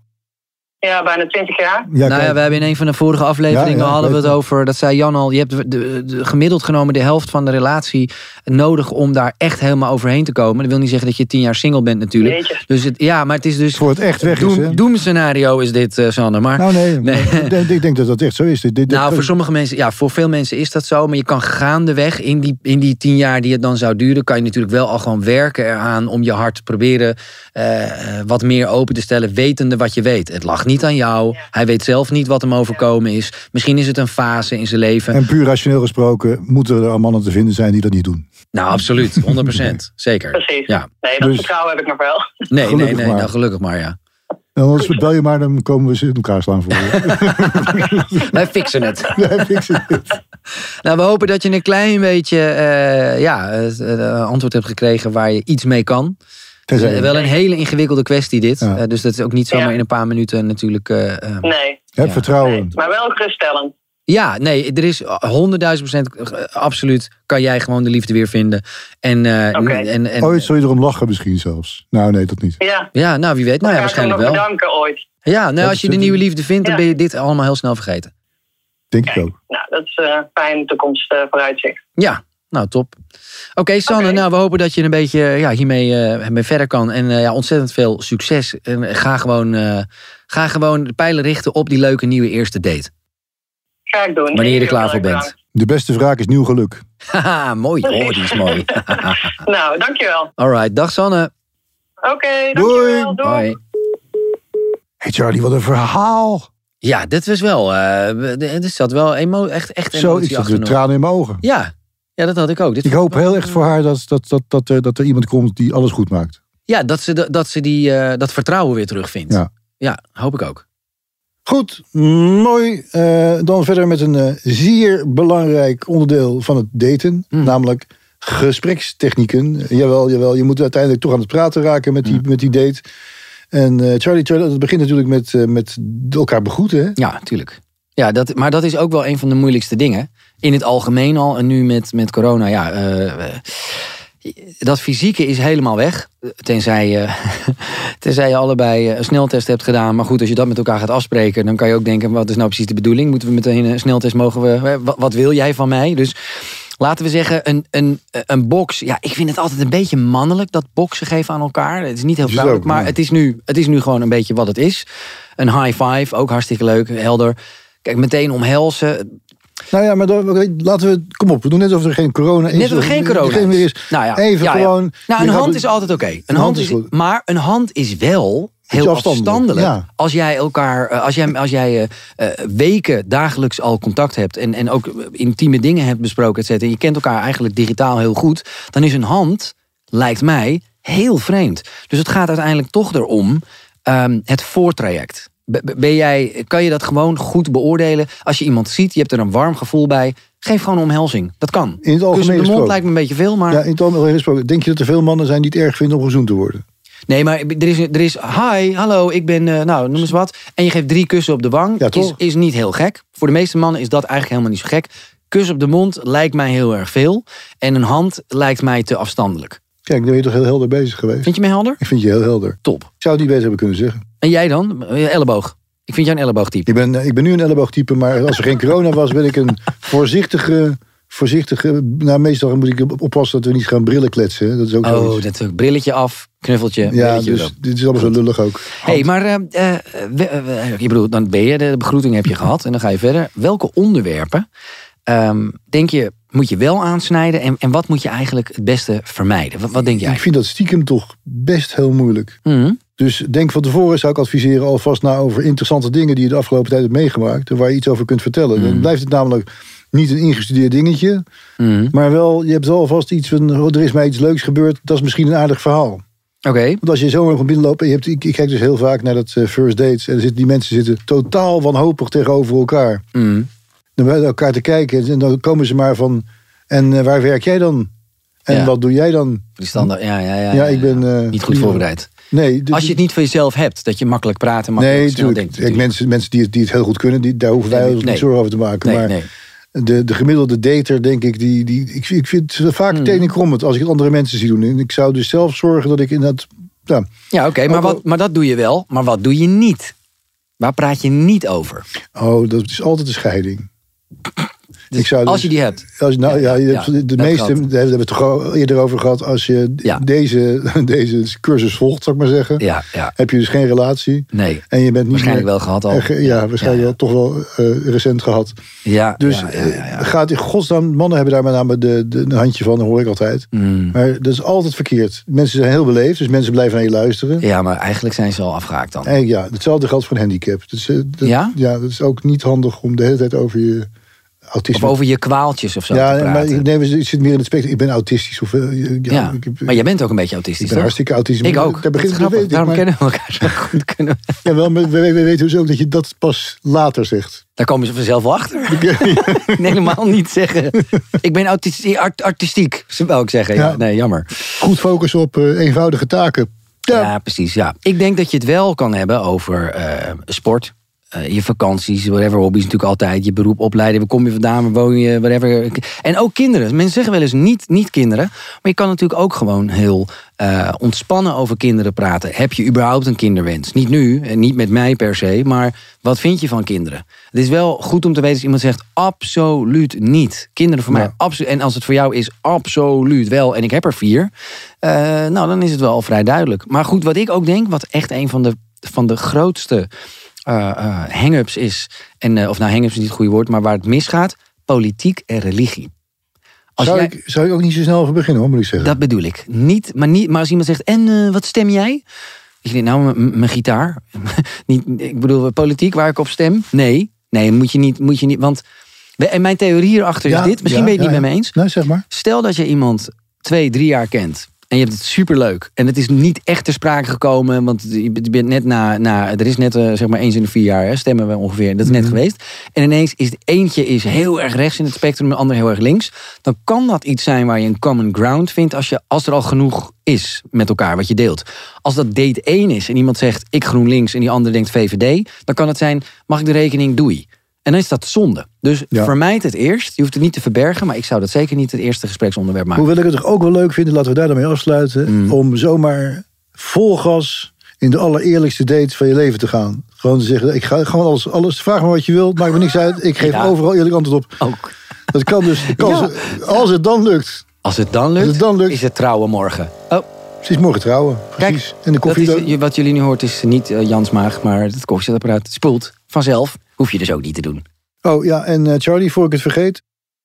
Speaker 5: ja, bijna twintig jaar.
Speaker 3: ja,
Speaker 2: nou ja,
Speaker 3: kijk.
Speaker 2: we hebben in een van de vorige afleveringen
Speaker 3: Ja, ja,
Speaker 2: hadden we het
Speaker 3: weet ik.
Speaker 2: over. Dat zei Jan al. Je hebt de, de- de- gemiddeld genomen de helft van de relatie nodig om daar echt helemaal overheen te komen. Dat wil niet zeggen dat je tien jaar single bent natuurlijk.
Speaker 5: Jeetje.
Speaker 2: Dus het, ja, maar het is dus.
Speaker 3: voor het echt weg is. hè?
Speaker 2: Doem, doemscenario is dit, eh Sander. Maar
Speaker 3: Nou nee,
Speaker 2: Nee.
Speaker 3: maar ik denk- ik denk dat dat echt zo is. Dit, dit-
Speaker 2: nou,
Speaker 3: dit-
Speaker 2: voor sommige mensen, ja, voor veel mensen is dat zo. Maar je kan gaandeweg in die, in die tien jaar die het dan zou duren, kan je natuurlijk wel al gewoon werken eraan om je hart te proberen eh, eh, wat meer open te stellen, wetende wat je weet. Het lag niet aan jou. Hij weet zelf niet wat hem overkomen is. Misschien is het een fase in zijn leven.
Speaker 3: En puur rationeel gesproken moeten er al mannen te vinden zijn die dat niet doen.
Speaker 2: Nou, absoluut. 100%. Zeker.
Speaker 5: Precies.
Speaker 2: Ja.
Speaker 5: Nee, dat
Speaker 3: Dus-
Speaker 5: vertrouwen heb ik nog wel.
Speaker 2: Nee,
Speaker 3: Gelukkig
Speaker 2: nee, nee.
Speaker 3: maar.
Speaker 2: Nou, gelukkig maar, ja.
Speaker 3: En anders bel je maar, dan komen we ze in elkaar slaan voor je.
Speaker 2: Wij fixen het.
Speaker 3: Nee, ik zit-
Speaker 2: Nou, we hopen dat je een klein beetje eh, ja, het, eh, antwoord hebt gekregen waar je iets mee kan.
Speaker 3: Tenzij-
Speaker 2: Eh, wel een hele ingewikkelde kwestie dit.
Speaker 3: Ja.
Speaker 2: Eh, dus dat is ook niet zomaar
Speaker 5: Ja.
Speaker 2: in een paar minuten natuurlijk. eh, eh,
Speaker 5: Nee,
Speaker 3: Heb
Speaker 2: Ja.
Speaker 5: nee.
Speaker 3: vertrouwen.
Speaker 5: maar wel geruststellend.
Speaker 2: Ja, nee, er is honderdduizend procent eh, absoluut kan jij gewoon de liefde weer vinden. En, eh,
Speaker 5: Oké.
Speaker 2: en, en
Speaker 3: Ooit zul je Oh, erom lachen misschien zelfs. Nou nee, dat niet.
Speaker 5: Ja,
Speaker 2: ja, nou wie weet, nou ja,
Speaker 5: elkaar kan nog
Speaker 2: waarschijnlijk wel.
Speaker 5: bedanken ooit.
Speaker 2: Ja, nou,
Speaker 3: Dat
Speaker 2: als
Speaker 3: is
Speaker 2: je de
Speaker 3: het.
Speaker 2: nieuwe liefde vindt, dan
Speaker 5: Ja.
Speaker 2: ben je dit allemaal heel snel vergeten.
Speaker 3: Denk ik ook.
Speaker 5: Nou, dat is eh fijn toekomst eh, vooruitzicht.
Speaker 2: Ja, nou top. Oké, Sanne,
Speaker 5: Oké.
Speaker 2: nou we hopen dat je een beetje ja, hiermee eh, mee verder kan. En eh, ja, ontzettend veel succes. En eh, ga gewoon, eh, ga gewoon de pijlen richten op die leuke nieuwe eerste date.
Speaker 5: Ga ik doen.
Speaker 2: Wanneer je er klaar
Speaker 5: Heel
Speaker 2: voor
Speaker 5: erg
Speaker 2: bent.
Speaker 3: De beste wraak is nieuw geluk.
Speaker 2: Haha, mooi. Oh, die is mooi.
Speaker 5: bedankt. Nou, dankjewel.
Speaker 2: Alright, dag Sanne.
Speaker 5: Oké, dankjewel. Doei.
Speaker 2: Hoi.
Speaker 3: Hey Charlie, wat een verhaal.
Speaker 2: Ja, dit was wel. eh, we- de- er zat wel emo echt, echt
Speaker 3: Zo, ik
Speaker 2: emotie
Speaker 3: zat
Speaker 2: achter.
Speaker 3: weer
Speaker 2: nog.
Speaker 3: tranen in mijn ogen.
Speaker 2: Ja. ja, dat had ik ook. Dit
Speaker 3: Ik
Speaker 2: vond
Speaker 3: hoop
Speaker 2: wel-
Speaker 3: heel echt voor haar dat, dat, dat, dat, er, dat er iemand komt die alles goed maakt.
Speaker 2: Ja, dat ze, de- dat, ze die, eh, dat vertrouwen weer terugvindt.
Speaker 3: Ja.
Speaker 2: ja, hoop ik ook.
Speaker 3: Goed, mooi. Eh, dan verder met een eh, zeer belangrijk onderdeel van het daten.
Speaker 2: Mhm.
Speaker 3: Namelijk gesprekstechnieken. Eh, jawel, jawel. Je moet uiteindelijk toch aan het praten raken met die,
Speaker 2: Mhm.
Speaker 3: met die date. En eh, Charlie, Charlie, dat begint natuurlijk met, eh, met elkaar begroeten. Hè?
Speaker 2: Ja, tuurlijk. Ja, dat, maar dat is ook wel een van de moeilijkste dingen. In het algemeen al en nu met, met corona. Ja, eh, eh, dat fysieke is helemaal weg. Tenzij, eh, tenzij je allebei eh, een sneltest hebt gedaan. Maar goed, als je dat met elkaar gaat afspreken, dan kan je ook denken: wat is nou precies de bedoeling? Moeten we meteen een sneltest? Mogen we. eh, Wat, wat wil jij van mij? Dus laten we zeggen, een, een, een box. Ja, ik vind het altijd een beetje mannelijk dat boksen geven aan elkaar. Het is niet heel
Speaker 3: Is
Speaker 2: vrouwelijk,
Speaker 3: ook,
Speaker 2: maar
Speaker 3: ja.
Speaker 2: het, is nu, het is nu gewoon een beetje wat het is. Een high five, ook hartstikke leuk, helder. Kijk, meteen omhelzen.
Speaker 3: Nou ja, maar dan, oké, laten we... Kom op, we doen net alsof er geen corona is.
Speaker 2: Net hebben we geen
Speaker 3: Of er
Speaker 2: corona.
Speaker 3: geen weer is.
Speaker 2: Nou ja,
Speaker 3: Even
Speaker 2: ja, ja.
Speaker 3: gewoon...
Speaker 2: Nou,
Speaker 3: je
Speaker 2: een
Speaker 3: gaat-
Speaker 2: hand is altijd oké. Een
Speaker 3: Een
Speaker 2: hand
Speaker 3: hand
Speaker 2: is,
Speaker 3: is goed.
Speaker 2: maar een hand is wel heel
Speaker 3: Beetje
Speaker 2: afstandelijk.
Speaker 3: afstandelijk, ja.
Speaker 2: Als jij elkaar, eh, als jij, als jij eh, eh, weken dagelijks al contact hebt en, en ook eh, intieme dingen hebt besproken, et cetera, en je kent elkaar eigenlijk digitaal heel goed, dan is een hand, lijkt mij, heel vreemd. Dus het gaat uiteindelijk toch erom ehm, het voortraject. B- b- Ben jij, kan je dat gewoon goed beoordelen? Als je iemand ziet, je hebt er een warm gevoel bij. Geef gewoon een omhelzing. Dat kan.
Speaker 3: In het algemeen
Speaker 2: Kussen op de mond
Speaker 3: gesproken.
Speaker 2: lijkt me een beetje veel, maar...
Speaker 3: Ja, in het algemeen gesproken. Denk je dat er veel mannen zijn die het erg vinden om gezoend te worden?
Speaker 2: Nee, maar er is, er is hi, hallo, ik ben, eh, nou, noem eens wat. En je geeft drie kussen op de wang.
Speaker 3: Ja, toch?
Speaker 2: Is, is niet heel gek. Voor de meeste mannen is dat eigenlijk helemaal niet zo gek. Kus op de mond lijkt mij heel erg veel. En een hand lijkt mij te afstandelijk.
Speaker 3: Kijk, dan ben je toch heel helder bezig geweest?
Speaker 2: Vind je mij helder?
Speaker 3: Ik vind je heel helder.
Speaker 2: Top.
Speaker 3: Ik zou het niet beter hebben kunnen zeggen.
Speaker 2: En jij dan? Eh, Elleboog. Ik vind jou een elleboogtype.
Speaker 3: Ik ben, eh, ik ben nu een elleboogtype, maar als er geen corona was, ben ik een voorzichtige. voorzichtige nou, meestal moet ik op- oppassen dat we niet gaan brillen kletsen. hè. Dat is ook zo.
Speaker 2: Oh, dat brilletje af, knuffeltje,
Speaker 3: ja,
Speaker 2: brilletje erop.
Speaker 3: dus dit is allemaal zo lullig ook.
Speaker 2: Hé, hey, maar eh, eh, we- eh, ik bedoel, dan ben je, de begroeting heb je gehad en dan ga je verder. Welke onderwerpen ehm, denk je, moet je wel aansnijden en, en wat moet je eigenlijk het beste vermijden? Wat, wat denk jij?
Speaker 3: Ik vind dat stiekem toch best heel moeilijk.
Speaker 2: Mhm.
Speaker 3: Dus denk van tevoren zou ik adviseren alvast na over interessante dingen die je de afgelopen tijd hebt meegemaakt. en Waar je iets over kunt vertellen. Dan blijft het namelijk niet een ingestudeerd dingetje.
Speaker 2: Mhm.
Speaker 3: Maar wel, je hebt wel alvast iets van, oh, er is mij iets leuks gebeurd. Dat is misschien een aardig verhaal.
Speaker 2: Oké,
Speaker 3: Want als je zomaar komt binnenlopen, en je hebt, ik, ik kijk dus heel vaak naar dat eh, first dates. En er zitten, die mensen zitten totaal wanhopig tegenover elkaar.
Speaker 2: Mhm.
Speaker 3: Dan bij elkaar te kijken. En dan komen ze maar van, en eh, waar werk jij dan? En
Speaker 2: Ja.
Speaker 3: wat doe jij dan?
Speaker 2: die standaard, ja, ja, ja.
Speaker 3: Ja, ik ben... eh,
Speaker 2: niet goed voorbereid.
Speaker 3: Nee, dus-
Speaker 2: Als je het niet voor jezelf hebt, dat je makkelijk praat en makkelijk
Speaker 3: nee,
Speaker 2: snel
Speaker 3: natuurlijk.
Speaker 2: denkt.
Speaker 3: Kijk, mensen, mensen die, het, die het heel goed kunnen, die, daar hoeven wij
Speaker 2: Nee,
Speaker 3: ons
Speaker 2: nee.
Speaker 3: niet zorgen over te maken.
Speaker 2: Nee,
Speaker 3: maar
Speaker 2: nee.
Speaker 3: De, de gemiddelde dater, denk ik, die, die, ik, ik vind het vaak
Speaker 2: Hmm.
Speaker 3: tenenkrommend als ik het andere mensen zie doen. En ik zou dus zelf zorgen dat ik in dat... nou, Ja,
Speaker 2: Ja, oké, maar,
Speaker 3: Ook al-
Speaker 2: wat- maar dat doe je wel. Maar wat doe je niet? Waar praat je niet over?
Speaker 3: oh, dat is altijd een scheiding.
Speaker 2: Dus
Speaker 3: Ik zou
Speaker 2: als
Speaker 3: dus-
Speaker 2: je die hebt.
Speaker 3: Als, nou ja, je
Speaker 2: ja,
Speaker 3: hebt de
Speaker 2: dat
Speaker 3: meeste,
Speaker 2: geldt.
Speaker 3: daar hebben we het toch al eerder over gehad. Als je
Speaker 2: Ja.
Speaker 3: deze, deze cursus volgt, zou ik maar zeggen,
Speaker 2: Ja, ja.
Speaker 3: heb je dus geen relatie.
Speaker 2: Nee,
Speaker 3: En je bent niet
Speaker 2: waarschijnlijk
Speaker 3: meer-
Speaker 2: wel gehad al.
Speaker 3: Eh, ge- Ja, waarschijnlijk wel, toch wel eh, recent gehad.
Speaker 2: Ja,
Speaker 3: Dus
Speaker 2: ja, ja,
Speaker 3: eh,
Speaker 2: ja.
Speaker 3: gaat in godsnaam, mannen hebben daar met name de, de, een handje van, dat hoor ik altijd.
Speaker 2: Mm.
Speaker 3: Maar dat is altijd verkeerd. Mensen zijn heel beleefd, dus mensen blijven naar je luisteren.
Speaker 2: Ja, maar eigenlijk zijn ze al afgehaakt dan.
Speaker 3: En ja, hetzelfde geldt voor een handicap. Dus, eh, dat,
Speaker 2: Ja?
Speaker 3: dat is ook niet handig om de hele tijd over je autisme
Speaker 2: Of over je kwaaltjes of zo te
Speaker 3: Ja, maar
Speaker 2: praten.
Speaker 3: ik, nee, maar ik zit meer in het spectrum. Ik ben autistisch. Of, eh, ja,
Speaker 2: ja.
Speaker 3: ik, heb-
Speaker 2: maar jij bent ook een beetje
Speaker 3: ik
Speaker 2: autistisch,
Speaker 3: ben
Speaker 2: toch?
Speaker 3: hartstikke autistisch.
Speaker 2: Ik ook.
Speaker 3: Daar
Speaker 2: Dat is
Speaker 3: begint dat
Speaker 2: grappig.
Speaker 3: weet ik,
Speaker 2: Daarom
Speaker 3: maar-
Speaker 2: kennen we elkaar zo goed. Kunnen we-
Speaker 3: Ja, wel, maar we, we- we weten dus ook dat je dat pas later zegt.
Speaker 2: Daar komen ze vanzelf wel achter. nee, helemaal niet zeggen. Ik ben autistiek, art- artistiek, zou ik zeggen. Ja.
Speaker 3: Ja.
Speaker 2: Nee, jammer.
Speaker 3: Goed focussen op eh, eenvoudige taken. Ja,
Speaker 2: Ja. precies. Ja. Ik denk dat je het wel kan hebben over eh, sport. eh, je vakanties, whatever, hobby's natuurlijk altijd. Je beroep, opleiden, waar kom je vandaan, waar woon je, whatever. En ook kinderen. Mensen zeggen wel eens niet, niet kinderen. Maar je kan natuurlijk ook gewoon heel eh, ontspannen over kinderen praten. Heb je überhaupt een kinderwens? Niet nu, en niet met mij per se. Maar wat vind je van kinderen? Het is wel goed om te weten als iemand zegt... absoluut niet. Kinderen voor mij,
Speaker 3: Ja.
Speaker 2: absoluut. En als het voor jou is, absoluut wel. En ik heb er vier. Eh, nou, dan is het wel al vrij duidelijk. Maar goed, wat ik ook denk, wat echt een van de, van de grootste eh, eh, hang-ups is, en, eh, of nou hang-ups is niet het goede woord, maar waar het misgaat, politiek en religie. Als
Speaker 3: zou,
Speaker 2: jij-
Speaker 3: ik, zou ik ook niet zo snel over beginnen, hoor, moet ik zeggen.
Speaker 2: Dat bedoel ik. Niet, maar, niet, maar als iemand zegt, en eh, wat stem jij? Dat je denkt, nou, m- m- mijn gitaar. niet, ik bedoel, politiek waar ik op stem? Nee, nee, moet je niet. Moet je niet want, en mijn theorie hierachter is
Speaker 3: Ja,
Speaker 2: Dus dit. Misschien
Speaker 3: ja,
Speaker 2: ben je het
Speaker 3: ja,
Speaker 2: niet met
Speaker 3: ja.
Speaker 2: me eens.
Speaker 3: Nee, zeg maar.
Speaker 2: Stel dat je iemand twee, drie jaar kent. En je hebt het superleuk. En het is niet echt ter sprake gekomen. Want je bent je bent net na. na er is net eh, zeg maar eens in de vier jaar. Hè, stemmen we ongeveer. Dat is net geweest. En ineens is het eentje is heel erg rechts in het spectrum. De ander heel erg links. Dan kan dat iets zijn waar je een common ground vindt. Als, je, als er al genoeg is met elkaar wat je deelt. Als dat date één is. En iemand zegt ik GroenLinks. En die ander denkt VVD. Dan kan het zijn mag ik de rekening doei. En dan is dat zonde. Dus
Speaker 3: Ja.
Speaker 2: vermijd het eerst. Je hoeft het niet te verbergen, maar ik zou dat zeker niet het eerste gespreksonderwerp maken.
Speaker 3: Hoewel ik het toch ook wel leuk vind, laten we daar dan mee
Speaker 2: Mm.
Speaker 3: afsluiten. Om zomaar vol gas in de allereerlijkste date van je leven te gaan. Gewoon te zeggen, ik ga gewoon alles, alles vraag me wat je wilt, maakt me niks uit. Ik geef
Speaker 2: Ja. Oh.
Speaker 3: overal eerlijk antwoord op.
Speaker 2: Ook.
Speaker 3: Dat kan dus, de kans- als het dan lukt.
Speaker 2: Als het dan lukt,
Speaker 3: Als het dan lukt.
Speaker 2: is het trouwen morgen. Oh,
Speaker 3: Precies, morgen trouwen. Precies.
Speaker 2: kijk,
Speaker 3: en de koffie
Speaker 2: dat
Speaker 3: dan-
Speaker 2: is, je- wat jullie nu hoort is niet eh, Jans Maag, maar het koffiezetapparaat spoelt vanzelf. Hoef je dus ook niet te doen.
Speaker 3: Oh ja, en eh, Charlie, voor ik het vergeet.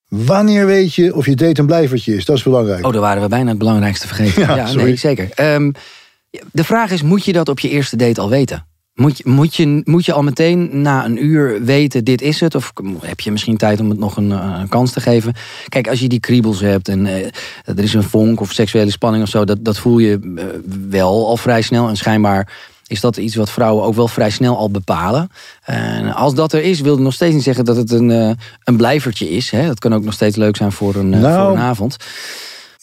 Speaker 3: Wanneer weet je of je date een blijvertje is? Dat is belangrijk.
Speaker 2: Oh, daar waren we bijna het belangrijkste vergeten.
Speaker 3: Ja,
Speaker 2: Ja,
Speaker 3: sorry.
Speaker 2: nee, zeker. Ehm, de vraag is, moet je dat op je eerste date al weten? Moet je, moet, je, moet je al meteen na een uur weten, dit is het? Of heb je misschien tijd om het nog een, eh, een kans te geven? Kijk, als je die kriebels hebt en eh, er is een vonk of seksuele spanning of zo... dat, dat voel je eh, wel al vrij snel. En schijnbaar is dat iets wat vrouwen ook wel vrij snel al bepalen. En als dat er is, wil het nog steeds niet zeggen dat het een, eh, een blijvertje is. Hè? Dat kan ook nog steeds leuk zijn voor een, eh,
Speaker 3: Nou,
Speaker 2: voor een avond.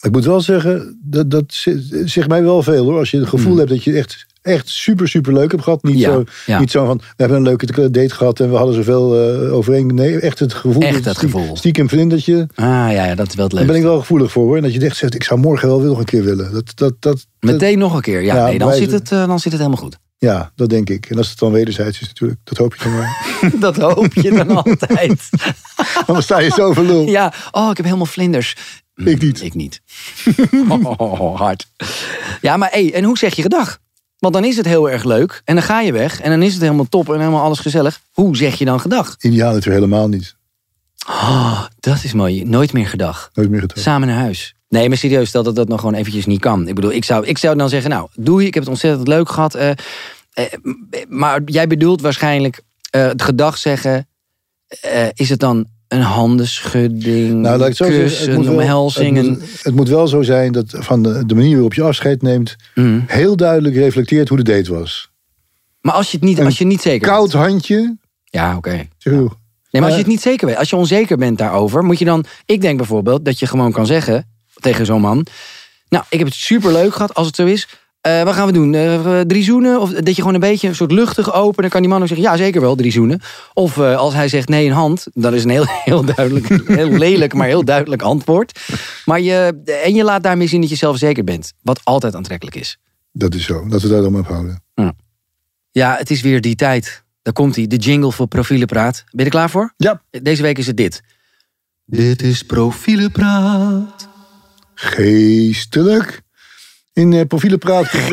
Speaker 3: Ik moet wel zeggen, dat, dat z- zegt mij wel veel hoor. Als je het gevoel hebt dat je echt, echt super, super leuk hebt gehad. Niet,
Speaker 2: Hmm. Ja,
Speaker 3: zo,
Speaker 2: ja.
Speaker 3: niet zo van, we hebben een leuke date gehad en we hadden zoveel eh overeen. Nee, echt het gevoel.
Speaker 2: Echt dat
Speaker 3: stie-
Speaker 2: gevoel.
Speaker 3: Stiekem vlindertje.
Speaker 2: Ah ja, ja, dat is wel het
Speaker 3: Daar
Speaker 2: leuk.
Speaker 3: ben ik wel gevoelig voor hoor. En dat je echt zegt, ik zou morgen wel weer nog een keer willen. Dat, dat, dat, dat-
Speaker 2: Meteen nog een keer. Ja,
Speaker 3: Ja,
Speaker 2: nee, dan,
Speaker 3: wij-
Speaker 2: zit het, eh, dan zit het helemaal goed.
Speaker 3: ja, dat denk ik. En als het dan wederzijds is natuurlijk, dat hoop je dan maar.
Speaker 2: Dat hoop je dan altijd.
Speaker 3: Dan sta je zo voor lul.
Speaker 2: Ja, oh, ik heb helemaal vlinders. Hm,
Speaker 3: Ik niet.
Speaker 2: Ik niet. Oh, hard. Ja, maar hey, en hoe zeg je gedag? Want dan is het heel erg leuk en dan ga je weg en dan is het helemaal top en helemaal alles gezellig. Hoe zeg je dan gedag?
Speaker 3: Ideaal natuurlijk helemaal niet.
Speaker 2: Oh, dat is mooi. Nooit meer gedag.
Speaker 3: Nooit meer getrokken.
Speaker 2: Samen naar huis. Nee, maar serieus, stel dat dat nog gewoon eventjes niet kan. Ik bedoel, ik zou, ik zou dan zeggen, nou, doei, ik heb het ontzettend leuk gehad. eh, eh, m- maar jij bedoelt waarschijnlijk eh, het gedag zeggen. eh, is het dan een handenschudding,
Speaker 3: Nou, laat ik het zo zeggen.
Speaker 2: kussen,
Speaker 3: Het moet, wel, het,
Speaker 2: omhelzing? een-
Speaker 3: moet, het moet wel zo zijn dat van de, de manier waarop je afscheid neemt...
Speaker 2: Mm.
Speaker 3: heel duidelijk reflecteert hoe de date was.
Speaker 2: Maar als je het niet,
Speaker 3: Een
Speaker 2: als je niet zeker
Speaker 3: Koud handje.
Speaker 2: bent. Ja, oké.
Speaker 3: Zeg, joh,
Speaker 2: Nee, maar als je
Speaker 3: Eh.
Speaker 2: het niet zeker weet, als je onzeker bent daarover, moet je dan. Ik denk bijvoorbeeld dat je gewoon kan zeggen tegen zo'n man: Nou, ik heb het superleuk gehad als het zo is. Eh, wat gaan we doen? Eh, drie zoenen? Of dat je gewoon een beetje een soort luchtig open. Dan kan die man ook zeggen: Ja, zeker wel, drie zoenen. Of eh, als hij zegt nee, een hand. Dan is een heel, heel duidelijk, heel lelijk, maar heel duidelijk antwoord. Maar je, en je laat daarmee zien dat je zelf zeker bent. Wat altijd aantrekkelijk is.
Speaker 3: Dat is zo. Dat we daar dan mee ophouden.
Speaker 2: Ja, het is weer die tijd. Daar komt hij, de jingle voor Profielen Praat. Ben je er klaar voor?
Speaker 3: Ja.
Speaker 2: Deze week is het dit.
Speaker 3: Geestelijk. In eh profielenpraat. Ja,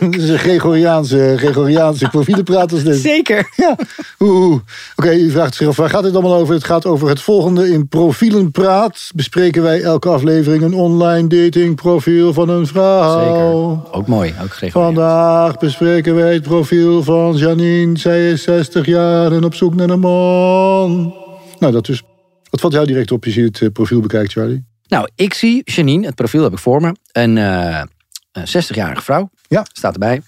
Speaker 3: dat is een Gregoriaanse, Gregoriaanse profielenpraat als dit.
Speaker 2: Zeker.
Speaker 3: Ja. Oeh, oeh. Oké, u vraagt zich af, waar gaat dit allemaal over? Het gaat over het volgende. In Profielenpraat bespreken wij elke aflevering een online datingprofiel van een vrouw.
Speaker 2: Zeker. Ook mooi. Ook geregeld.
Speaker 3: Vandaag bespreken wij het profiel van Janine. Zij is 60 jaar en op zoek naar een man. Nou, dat dus. Wat valt jou direct op als je het eh, profiel bekijkt, Charlie?
Speaker 2: Nou, ik zie Janine, het profiel heb ik voor me. Een, eh, een 60-jarige vrouw.
Speaker 3: Ja.
Speaker 2: Staat erbij.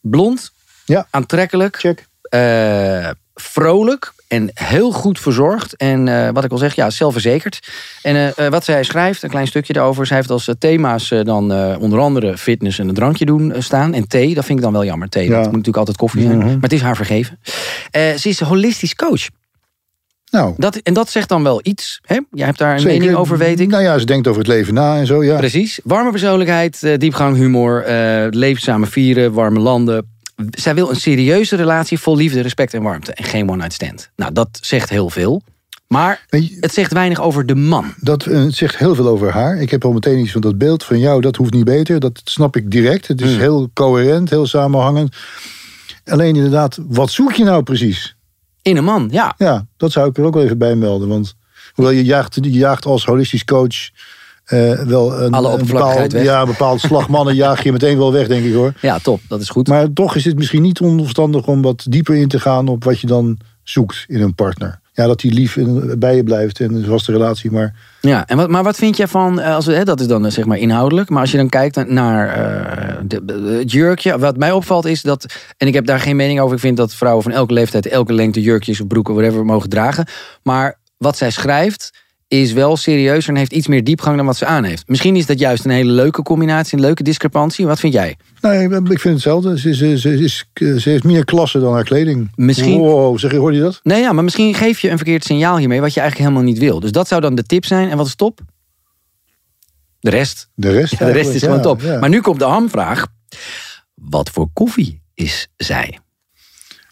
Speaker 2: Blond.
Speaker 3: Ja.
Speaker 2: Aantrekkelijk.
Speaker 3: Check.
Speaker 2: eh, vrolijk. En heel goed verzorgd. En eh, wat ik al zeg, ja, zelfverzekerd. En eh, eh, wat zij schrijft, een klein stukje daarover. Zij heeft als eh, thema's eh, dan eh, onder andere fitness en een drankje doen eh, staan. En thee, dat vind ik dan wel jammer. Thee,
Speaker 3: Ja. Mhm.
Speaker 2: dat moet natuurlijk altijd koffie zijn. Maar het is haar vergeven. Eh, ze is holistisch coach.
Speaker 3: Nou,
Speaker 2: Dat, en dat zegt dan wel iets. Hè? Jij hebt daar een
Speaker 3: zeker.
Speaker 2: mening over, weet ik.
Speaker 3: Nou ja, ze denkt over het leven na en zo, ja.
Speaker 2: Precies. Warme persoonlijkheid, eh, diepgang, humor, eh leefzame vieren, warme landen. Zij wil een serieuze relatie vol liefde, respect en warmte. En geen one-night stand. Nou, dat zegt heel veel. Maar
Speaker 3: Weet je,
Speaker 2: het zegt weinig over de man.
Speaker 3: Dat eh, het zegt heel veel over haar. Ik heb al meteen iets van dat beeld
Speaker 2: Hmm.
Speaker 3: van jou, dat hoeft niet beter. Dat snap ik direct. Het is heel coherent, heel samenhangend. Alleen inderdaad, wat zoek je nou precies?
Speaker 2: In een man, ja.
Speaker 3: Ja, dat zou ik er ook wel even bij melden. Want hoewel je jaagt, je jaagt als holistisch coach eh, wel een,
Speaker 2: Alle
Speaker 3: een
Speaker 2: oppervlakkigheid
Speaker 3: bepaald,
Speaker 2: weg.
Speaker 3: ja, een bepaald slag mannen jaag je meteen wel weg, denk ik hoor.
Speaker 2: Ja, top. Dat is goed.
Speaker 3: Maar toch is het misschien niet onverstandig om wat dieper in te gaan op wat je dan zoekt in een partner. Ja, dat die lief en- bij je blijft en een vaste relatie. Maar
Speaker 2: Ja, en wat, maar wat vind jij van, eh, als we, hè, dat is dan eh, zeg maar inhoudelijk, maar als je dan kijkt naar eh, de, de- het jurkje, wat mij opvalt is dat, en ik heb daar geen mening over, ik vind dat vrouwen van elke leeftijd, elke lengte jurkjes of broeken, whatever, mogen dragen. Maar wat zij schrijft is wel serieuzer en heeft iets meer diepgang dan wat ze aan heeft. Misschien is dat juist een hele leuke combinatie, een leuke discrepantie. Wat vind jij?
Speaker 3: nou, ik, ik vind hetzelfde. Ze, ze, ze, is, ze heeft meer klasse dan haar kleding.
Speaker 2: Misschien-
Speaker 3: Wow, zeg, je- hoorde je dat?
Speaker 2: Nee, ja, maar misschien geef je een verkeerd signaal hiermee, wat je eigenlijk helemaal niet wil. Dus dat zou dan de tip zijn. En wat is top? De rest.
Speaker 3: De
Speaker 2: Ja,
Speaker 3: rest,
Speaker 2: de rest is
Speaker 3: eigenlijk,
Speaker 2: gewoon
Speaker 3: ja,
Speaker 2: top.
Speaker 3: ja.
Speaker 2: Maar nu komt de hamvraag. Wat voor koffie is zij?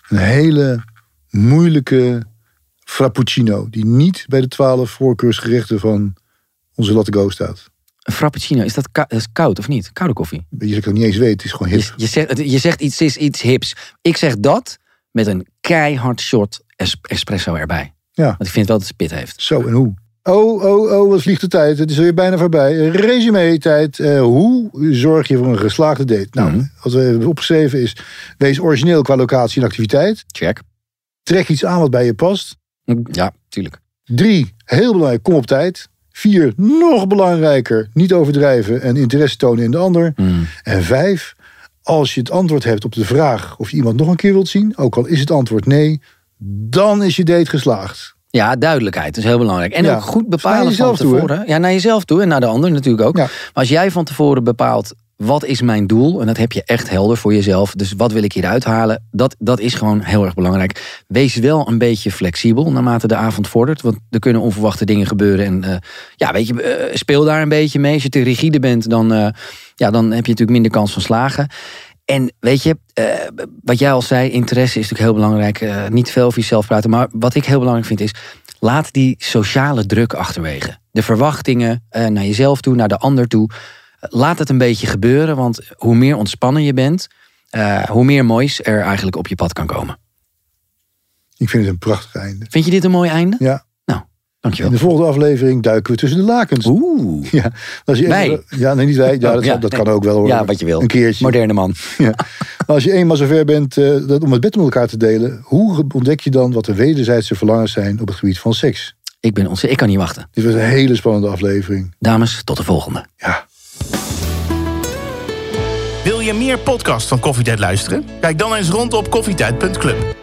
Speaker 3: Een hele moeilijke frappuccino. Die niet bij de twaalf voorkeursgerechten van onze Latte Go staat.
Speaker 2: Een frappuccino, is dat, ka- dat is koud of niet? Koude koffie.
Speaker 3: Je zegt het niet eens weet, het is gewoon hip.
Speaker 2: Je, je, zegt, je zegt iets is iets hips. Ik zeg dat met een keihard shot es- espresso erbij.
Speaker 3: Ja.
Speaker 2: Want ik vind wel dat ze pit heeft.
Speaker 3: Zo en hoe. Oh, oh, oh, wat vliegt de tijd. Het is weer bijna voorbij. Resume-tijd. Eh, hoe zorg je voor een geslaagde date? Nou, wat we hebben opgeschreven is... wees origineel qua locatie en activiteit.
Speaker 2: Check.
Speaker 3: Trek iets aan wat bij je past.
Speaker 2: Ja, tuurlijk.
Speaker 3: Drie, heel belangrijk, kom op tijd. Vier, nog belangrijker, niet overdrijven en interesse tonen in de ander.
Speaker 2: Hmm.
Speaker 3: En vijf, als je het antwoord hebt op de vraag of je iemand nog een keer wilt zien, ook al is het antwoord nee, dan is je date geslaagd.
Speaker 2: Ja, duidelijkheid is heel belangrijk. En
Speaker 3: Ja.
Speaker 2: ook goed
Speaker 3: Dus naar
Speaker 2: bepalen van
Speaker 3: jezelf toe, hè?
Speaker 2: tevoren. ja, naar jezelf toe en naar de ander natuurlijk ook.
Speaker 3: Ja.
Speaker 2: Maar als jij van tevoren bepaalt, wat is mijn doel? En dat heb je echt helder voor jezelf. Dus wat wil ik hieruit halen? Dat, dat is gewoon heel erg belangrijk. Wees wel een beetje flexibel naarmate de avond vordert. Want er kunnen onverwachte dingen gebeuren. En eh, ja, weet je, eh, speel daar een beetje mee. Als je te rigide bent, dan, eh, ja, dan heb je natuurlijk minder kans van slagen. En weet je, eh, wat jij al zei, interesse is natuurlijk heel belangrijk. Eh, niet veel over jezelf praten. Maar wat ik heel belangrijk vind is, laat die sociale druk achterwege. De verwachtingen eh, naar jezelf toe, naar de ander toe. Eh, Laat het een beetje gebeuren, want hoe meer ontspannen je bent, eh, hoe meer moois er eigenlijk op je pad kan komen.
Speaker 3: Ik vind het een prachtig einde.
Speaker 2: Vind je dit een mooi einde?
Speaker 3: Ja.
Speaker 2: Nou,
Speaker 3: In
Speaker 2: dankjewel.
Speaker 3: de volgende aflevering duiken we tussen de lakens.
Speaker 2: Oeh.
Speaker 3: Ja, als je
Speaker 2: Wij?
Speaker 3: eenmaal- ja, nee, niet wij. Ja, dat,
Speaker 2: Oh, ja,
Speaker 3: dat
Speaker 2: nee.
Speaker 3: kan ook wel hoor.
Speaker 2: Ja, wat je wil.
Speaker 3: Een keertje.
Speaker 2: Moderne man.
Speaker 3: Ja. Maar Als je eenmaal zover bent eh, dat, om het bed met elkaar te delen, hoe ontdek je dan wat de wederzijdse verlangens zijn op het gebied van seks?
Speaker 2: Ik ben ontzettend, ik kan niet wachten.
Speaker 3: Dit was een hele spannende aflevering.
Speaker 2: Dames, tot de volgende.
Speaker 3: Ja.
Speaker 1: Wil je meer podcasts van Koffietijd luisteren? Kijk dan eens rond op koffietijd.club.